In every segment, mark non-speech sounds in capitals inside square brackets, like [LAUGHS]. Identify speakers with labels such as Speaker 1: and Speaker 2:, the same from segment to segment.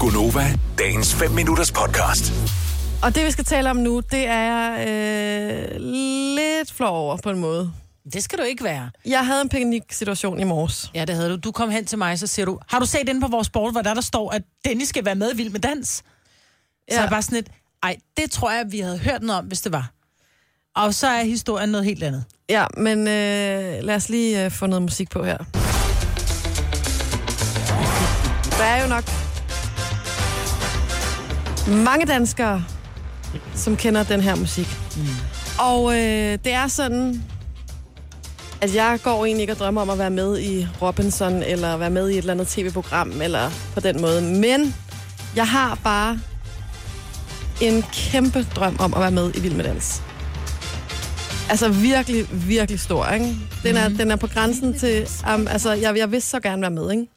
Speaker 1: Gunova, dagens 5 minutters podcast.
Speaker 2: Og det, vi skal tale om nu, det er jeg, øh, lidt flov over på en måde.
Speaker 3: Det skal du ikke være.
Speaker 2: Jeg havde en paniksituation i morges.
Speaker 3: Ja, det havde du. Du kom hen til mig, så siger du, har du set inde på vores board, hvor der, der står, at Dennis skal være med i Vild med Dans? Ja. Så er jeg bare sådan lidt, ej, det tror jeg, vi havde hørt noget om, hvis det var. Og så er historien noget helt andet.
Speaker 2: Ja, men øh, lad os lige øh, få noget musik på her. Der er jo nok mange danskere, som kender den her musik. Mm. Og øh, det er sådan, at jeg går egentlig ikke og drømmer om at være med i Robinson, eller være med i et eller andet tv-program, eller på den måde. Men jeg har bare en kæmpe drøm om at være med i Vild med Dans. Altså virkelig, virkelig stor, ikke? Den er, mm. den er på grænsen til... Um, altså, jeg, jeg vil så gerne være med, ikke?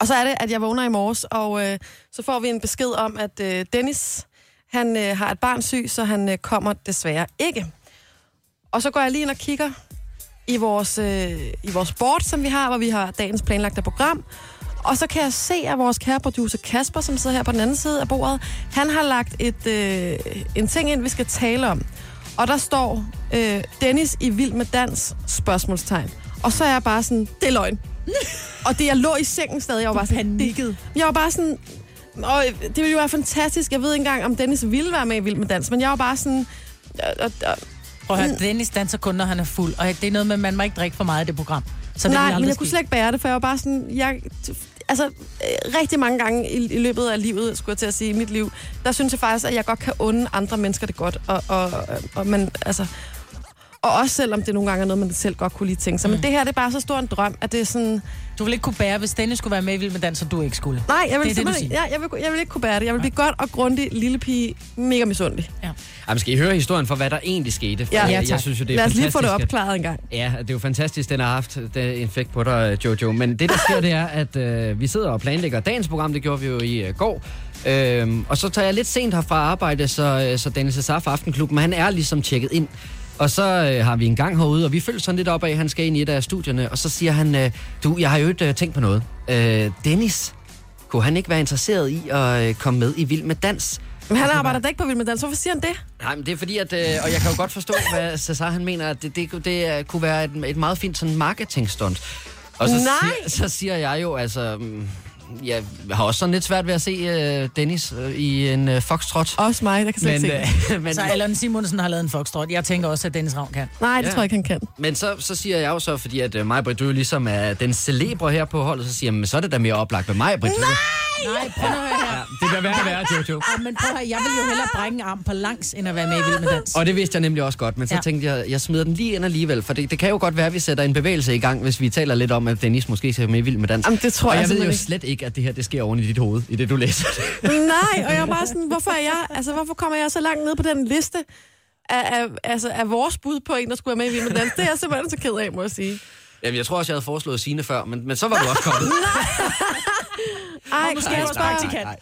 Speaker 2: Og så er det, at jeg vågner i morges, og øh, så får vi en besked om, at øh, Dennis, han øh, har et barn syg, så han øh, kommer desværre ikke. Og så går jeg lige ind og kigger i vores, øh, i vores board, som vi har, hvor vi har dagens planlagte program. Og så kan jeg se, at vores kære producer Kasper, som sidder her på den anden side af bordet, han har lagt et, øh, en ting ind, vi skal tale om. Og der står øh, Dennis i Vild med Dans? spørgsmålstegn. Og så er jeg bare sådan, det er løgn. og det, jeg lå i sengen stadig, jeg var bare sådan...
Speaker 3: Panikket.
Speaker 2: Det, jeg var bare sådan... Og det ville jo være fantastisk. Jeg ved ikke engang, om Dennis ville være med i Vild med Dans, men jeg var bare sådan... Og, og, og,
Speaker 3: Prøv at høre, Dennis danser kun, når han er fuld. Og det er noget med, at man må ikke drikke for meget i det program. Så det vil
Speaker 2: nej, men
Speaker 3: aldrig
Speaker 2: jeg kunne
Speaker 3: ske.
Speaker 2: slet ikke bære det, for jeg var bare sådan... Jeg, altså, øh, rigtig mange gange i, i løbet af livet, skulle jeg til at sige, i mit liv, der synes jeg faktisk, at jeg godt kan unde andre mennesker det godt. Og, og, og, man, altså, og også selvom det nogle gange er noget, man selv godt kunne lige tænke sig. Mm. Men det her, det er bare så stor en drøm, at det er sådan...
Speaker 3: Du ville ikke kunne bære, hvis Dennis skulle være med i Vild med Dans, og du ikke skulle.
Speaker 2: Nej, jeg vil,
Speaker 3: Det er det, du
Speaker 2: simpelthen,
Speaker 3: siger.
Speaker 2: ja, jeg, vil, jeg vil ikke kunne bære det. Jeg vil blive godt og grundig lille pige, mega misundelig.
Speaker 3: Ja.
Speaker 4: Jamen, skal I høre historien for, hvad der egentlig skete? For
Speaker 2: Ja.
Speaker 4: jeg,
Speaker 2: Ja,
Speaker 3: tak.
Speaker 4: jeg synes jo, det er
Speaker 2: Lad os
Speaker 4: fantastisk,
Speaker 2: lige få det
Speaker 4: at-
Speaker 2: opklaret en gang.
Speaker 4: Ja, det er jo fantastisk, den har haft den infekt på dig, Jojo. Men det, der sker, det er, at øh, vi sidder og planlægger dagens program. Det gjorde vi jo i øh, går. Øhm, og så tager jeg lidt sent herfra arbejde, så, øh, så Dennis Azar fra Aftenklubben, han er ligesom tjekket ind. Og så øh, har vi en gang herude, og vi følger sådan lidt op af, at han skal ind i et af studierne. Og så siger han, øh, du, jeg har jo ikke øh, tænkt på noget. Øh, Dennis, kunne han ikke være interesseret i at øh, komme med i Vild med Dans?
Speaker 2: Men han arbejder da ikke på Vild Med Dans. Hvorfor siger han det?
Speaker 4: Nej, men det er fordi, at, øh, og jeg kan jo godt forstå, hvad Cesar han mener, at det, det, kunne- det øh, kunne være et, et meget fint sådan marketingstunt. Og så,
Speaker 2: Nej!
Speaker 4: Siger, så siger jeg jo, altså, mm, jeg har også sådan lidt svært ved at se øh, Dennis øh, i en øh, foxtrot.
Speaker 2: Også mig, der kan slet ikke
Speaker 4: Men,
Speaker 2: se det.
Speaker 4: øh, [LAUGHS] men,
Speaker 3: Så Allan Simonsen har lavet en foxtrot. Jeg tænker også, at Dennis Ravn kan.
Speaker 2: Nej, det
Speaker 4: ja.
Speaker 2: tror jeg ikke, han kan.
Speaker 4: men så, så siger jeg jo så, fordi at øh, Majbrit, du jo ligesom er den celebre her på holdet, så siger jeg, "Men så er det da mere oplagt med Majbrit. Nej!
Speaker 3: Nej, prøv at høre her.
Speaker 4: Det kan være værre, Jojo.
Speaker 3: Ja, men prøv at høre, jeg vil jo hellere brække en arm på langs, end at være med i Vild med Dans.
Speaker 4: Og det vidste jeg nemlig også godt, men så
Speaker 3: Ja.
Speaker 4: ja. tænkte jeg, jeg smider den lige ind alligevel, for det, det kan jo godt være, at vi sætter en bevægelse i gang, hvis vi taler lidt om, at Dennis måske skal med i vild med dans.
Speaker 2: Jamen, det tror
Speaker 4: og
Speaker 2: jeg
Speaker 4: jeg, ved
Speaker 2: simpelthen
Speaker 4: jo
Speaker 2: ikke.
Speaker 4: slet ikke, at det her det sker oven i dit hoved, i det du
Speaker 2: [LAUGHS]
Speaker 4: læser det.
Speaker 2: Nej, og jeg er bare sådan, hvorfor er jeg, altså hvorfor kommer jeg så langt ned på den liste af, af, altså, af vores bud på en, der skulle være med i Vild med Dans? Det er jeg simpelthen så ked af, må jeg sige.
Speaker 4: Jamen, jeg tror også, jeg havde foreslået Signe før, men, men så var du også
Speaker 2: [LAUGHS]
Speaker 4: kommet.
Speaker 2: Ej,
Speaker 3: måske
Speaker 2: Kasper.
Speaker 3: vores praktikant.
Speaker 4: nej.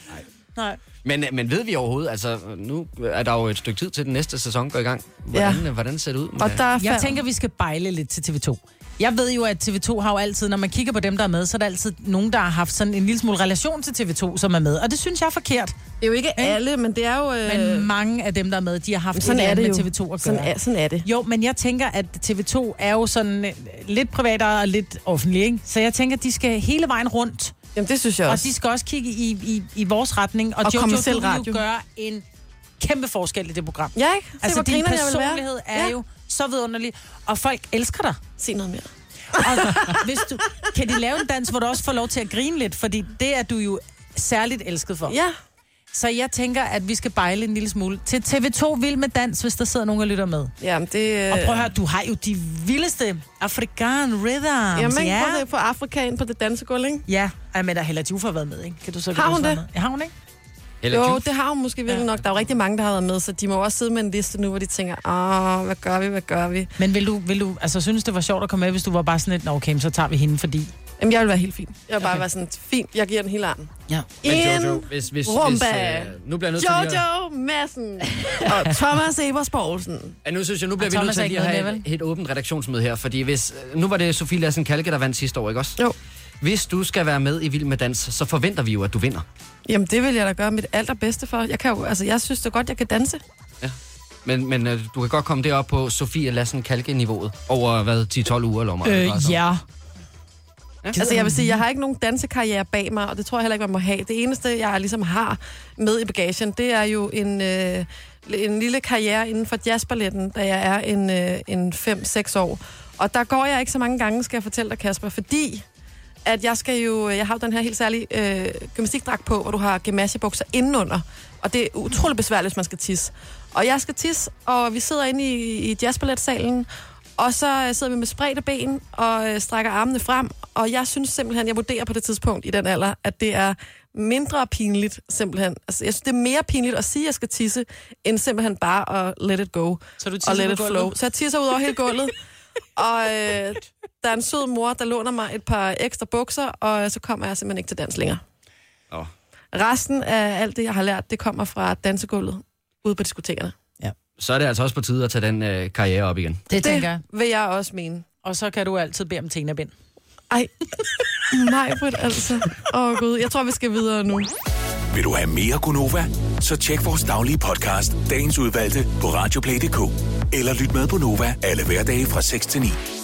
Speaker 3: Nej.
Speaker 4: Men, men ved vi overhovedet, altså nu er der jo et stykke tid til den næste sæson går i gang. Hvordan, ja. hvordan ser det ud?
Speaker 2: Og
Speaker 4: med-
Speaker 2: der er
Speaker 3: Jeg
Speaker 2: fandme-
Speaker 3: tænker, vi skal bejle lidt til TV2. Jeg ved jo, at TV2 har jo altid, når man kigger på dem, der er med, så er der altid nogen, der har haft sådan en lille smule relation til TV2, som er med. Og det synes jeg er forkert.
Speaker 2: Det er jo ikke alle, men det er jo... Øh,
Speaker 3: Men mange af dem, der er med, de har haft
Speaker 2: sådan
Speaker 3: et
Speaker 2: er
Speaker 3: eller
Speaker 2: det jo.
Speaker 3: andet med TV2 at gøre.
Speaker 2: Sådan er, sådan er det.
Speaker 3: Jo, men jeg tænker, at TV2 er jo sådan øh, lidt privat og lidt offentlig, ikke? Så jeg tænker, de skal hele vejen rundt,
Speaker 2: Jamen, det synes jeg
Speaker 3: og
Speaker 2: også.
Speaker 3: de skal også kigge i, i, i vores retning. Og,
Speaker 2: Og
Speaker 3: Jojo,
Speaker 2: kommerciel
Speaker 3: du vil jo
Speaker 2: radio.
Speaker 3: gøre en kæmpe forskel i det program.
Speaker 2: Ja, ikke? Se,
Speaker 3: altså,
Speaker 2: hvor
Speaker 3: din
Speaker 2: grineren jeg vil være.
Speaker 3: personlighed er
Speaker 2: Ja.
Speaker 3: jo så vidunderlig, og folk elsker dig.
Speaker 2: Se noget mere.
Speaker 3: Og hvis du, kan de lave en dans, hvor du også får lov til at grine lidt, fordi det er du jo særligt elsket for.
Speaker 2: Ja,
Speaker 3: Så jeg tænker, at vi skal bejle en lille smule til TV2 Vild med Dans, hvis der sidder nogen og lytter med.
Speaker 2: jamen det... Øh,
Speaker 3: Og prøv at høre, du har jo de vildeste afrikan rhythms.
Speaker 2: Jamen,
Speaker 3: ja.
Speaker 2: ja. prøv at på Afrikaen på det dansegulv, ikke?
Speaker 3: Ja, Ej, men der er Hella Juf har været med, ikke? Kan du så
Speaker 2: Har hun
Speaker 3: også være
Speaker 2: det?
Speaker 3: Med? Ja, har hun ikke?
Speaker 4: Hella
Speaker 2: Jo,
Speaker 4: Joof?
Speaker 2: det har hun måske virkelig nok. Der er jo rigtig mange, der har været med, så de må også sidde med en liste nu, hvor de tænker, åh, hvad gør vi, hvad gør vi?
Speaker 3: Men vil du, vil du, altså synes det var sjovt at komme med, hvis du var bare sådan lidt, "Nå, okay, men så tager vi hende, fordi...
Speaker 2: Jamen, jeg vil være helt fin. Jeg vil bare
Speaker 3: Okay.
Speaker 2: være sådan, fint, jeg giver den hele armen.
Speaker 3: Ja.
Speaker 4: Men
Speaker 2: En
Speaker 4: Jojo, hvis, hvis, hvis,
Speaker 2: rumba.
Speaker 4: øh, nu bliver jeg nødt til lige at...
Speaker 2: Jojo Madsen og Thomas Evers Poulsen.
Speaker 4: Ja, nu synes jeg, nu bliver
Speaker 3: Og
Speaker 4: vi nødt
Speaker 3: Thomas er
Speaker 4: til
Speaker 3: ikke
Speaker 4: lige at
Speaker 3: med
Speaker 4: have
Speaker 3: med,
Speaker 4: et, et åbent redaktionsmøde her, fordi hvis... Nu var det Sofie Lassen Kalke, der vandt sidste år, ikke også?
Speaker 2: Jo.
Speaker 4: Hvis du skal være med i Vild med Dans, så forventer vi jo, at du vinder.
Speaker 2: Jamen, det vil jeg da gøre mit allerbedste for. Jeg, kan jo, altså, jeg synes da godt, jeg kan danse.
Speaker 4: Men, men øh, du kan godt komme derop på Sofie Lassen Kalke-niveauet over, hvad, 10-12 uger eller meget.
Speaker 3: Øh, ja.
Speaker 2: Altså, jeg vil sige, jeg har ikke nogen dansekarriere bag mig, og det tror jeg heller ikke, man må have. Det eneste, jeg ligesom har med i bagagen, det er jo en, øh, en lille karriere inden for jazzballetten, da jeg er en, øh, en 5-6 år. Og der går jeg ikke så mange gange, skal jeg fortælle dig, Kasper, fordi at jeg skal jo, jeg har jo den her helt særlige øh, gymnastikdragt på, hvor du har gemasjebukser indenunder. Og det er utrolig besværligt, hvis man skal tisse. Og jeg skal tisse, og vi sidder inde i, i jazzballetsalen, og så øh, sidder vi med spredte ben og øh, strækker armene frem. Og jeg synes simpelthen, jeg vurderer på det tidspunkt i den alder, at det er mindre pinligt simpelthen. Altså, jeg synes, det er mere pinligt at sige, at jeg skal tisse, end simpelthen bare at let it go
Speaker 3: Så du
Speaker 2: og
Speaker 3: tisser
Speaker 2: let
Speaker 3: på
Speaker 2: it
Speaker 3: gulvet?
Speaker 2: flow. Så jeg tisser ud over hele gulvet. og øh, der er en sød mor, der låner mig et par ekstra bukser, og øh, så kommer jeg simpelthen ikke til dans længere.
Speaker 4: Nå.
Speaker 2: Resten af alt det, jeg har lært, det kommer fra dansegulvet ude på diskotekerne.
Speaker 4: Så er det altså også på tide at tage den øh, karriere op igen.
Speaker 3: Det, tænker jeg.
Speaker 2: Det vil jeg også mene.
Speaker 3: Og så kan du altid bede om tinabind.
Speaker 2: Ej, nej, Britt, altså. Åh, oh, Gud. Jeg tror, vi skal videre nu.
Speaker 1: Vil du have mere Gunova? Så tjek vores daglige podcast, dagens udvalgte, på radioplay.dk. Eller lyt med på Nova alle hverdage fra 6 til 9.